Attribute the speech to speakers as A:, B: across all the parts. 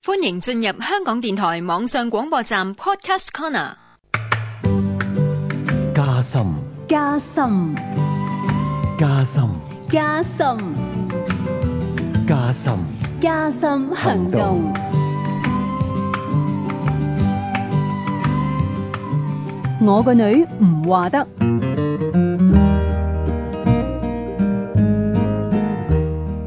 A: 歡迎進入香港電台網上廣播站 Podcast Corner。
B: 加深，
C: 加深，
B: 加深，
C: 加深，
B: 加深。
C: 加深行動。我個女唔話得，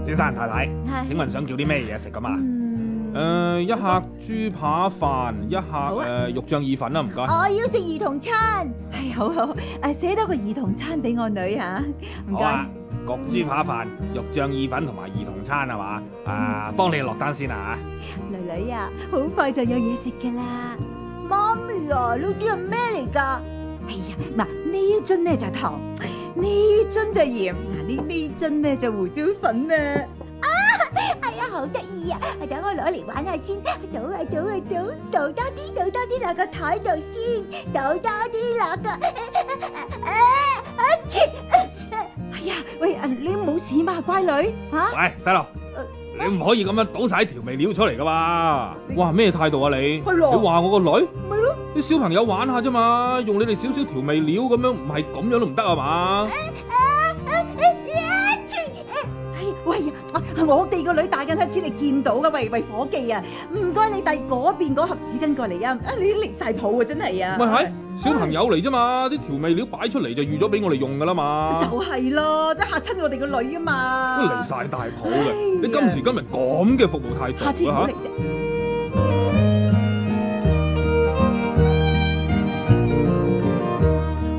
D: 先生太太，
C: 係
D: 請問想叫啲咩嘢食咁啊？誒、
E: 嗯，
D: 一客豬扒飯，一客誒、
E: 好啊哦
D: 肉醬意粉啦，唔該。
E: 我要食兒童餐。係哎好好，誒寫多個兒童餐俾我女嚇，唔
D: 好啊
E: 該。，
D: 焗豬扒飯、肉醬意粉同埋兒童餐係嘛？啊，
E: 嗯
D: 幫你落單先啊！
E: 女女啊，好快就有嘢食㗎啦。媽咪啊，呢啲係咩嚟㗎？哎呀，嗱呢樽咧就係糖，呢樽就係鹽，嗱呢呢樽咧就胡椒粉啊。
F: 係啊，好得意啊！等我攞嚟玩下先，倒啊倒啊倒，倒多啲，倒多啲落個台度先，倒多啲落個，啊啊切！
E: 哎呀，喂，啊你冇事嘛，乖女嚇？
D: 喂，細路，
E: 呃
D: 你唔可以咁樣倒晒啲調味料出嚟噶嘛？哇，咩態度啊你？
E: 係咯
D: 你話我個女？
E: 咪咯，
D: 啲小朋友玩下啫嘛，用你哋少少調味料咁樣，唔係咁樣都唔得啊嘛？
E: 哎喂呀，啊我哋個女大緊乞嗤，你見到噶喂喂伙計啊，唔該你遞嗰邊嗰盒紙巾過嚟啊！啊你拎晒譜啊，真係啊！
D: 咪係小朋友嚟啫嘛，啲調味料擺出嚟就預咗俾我哋用噶啦嘛。
E: 就係咯，即係嚇親我哋個女啊嘛！
D: 都離晒大譜
E: 哎
D: 嘅
E: 呀，
D: 你今時今日咁嘅服務態
E: 下次
D: 度
E: 唔好
D: 啊
E: 嚟啫。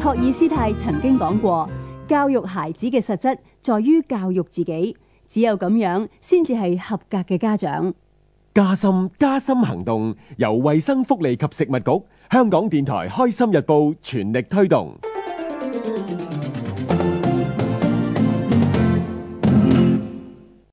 C: 托爾斯泰曾經講過，教育孩子嘅實質在於教育自己，只有咁樣先至係合格嘅家長。
B: 加深加深行動由衛生福利及食物局、香港電台、開心日報全力推動。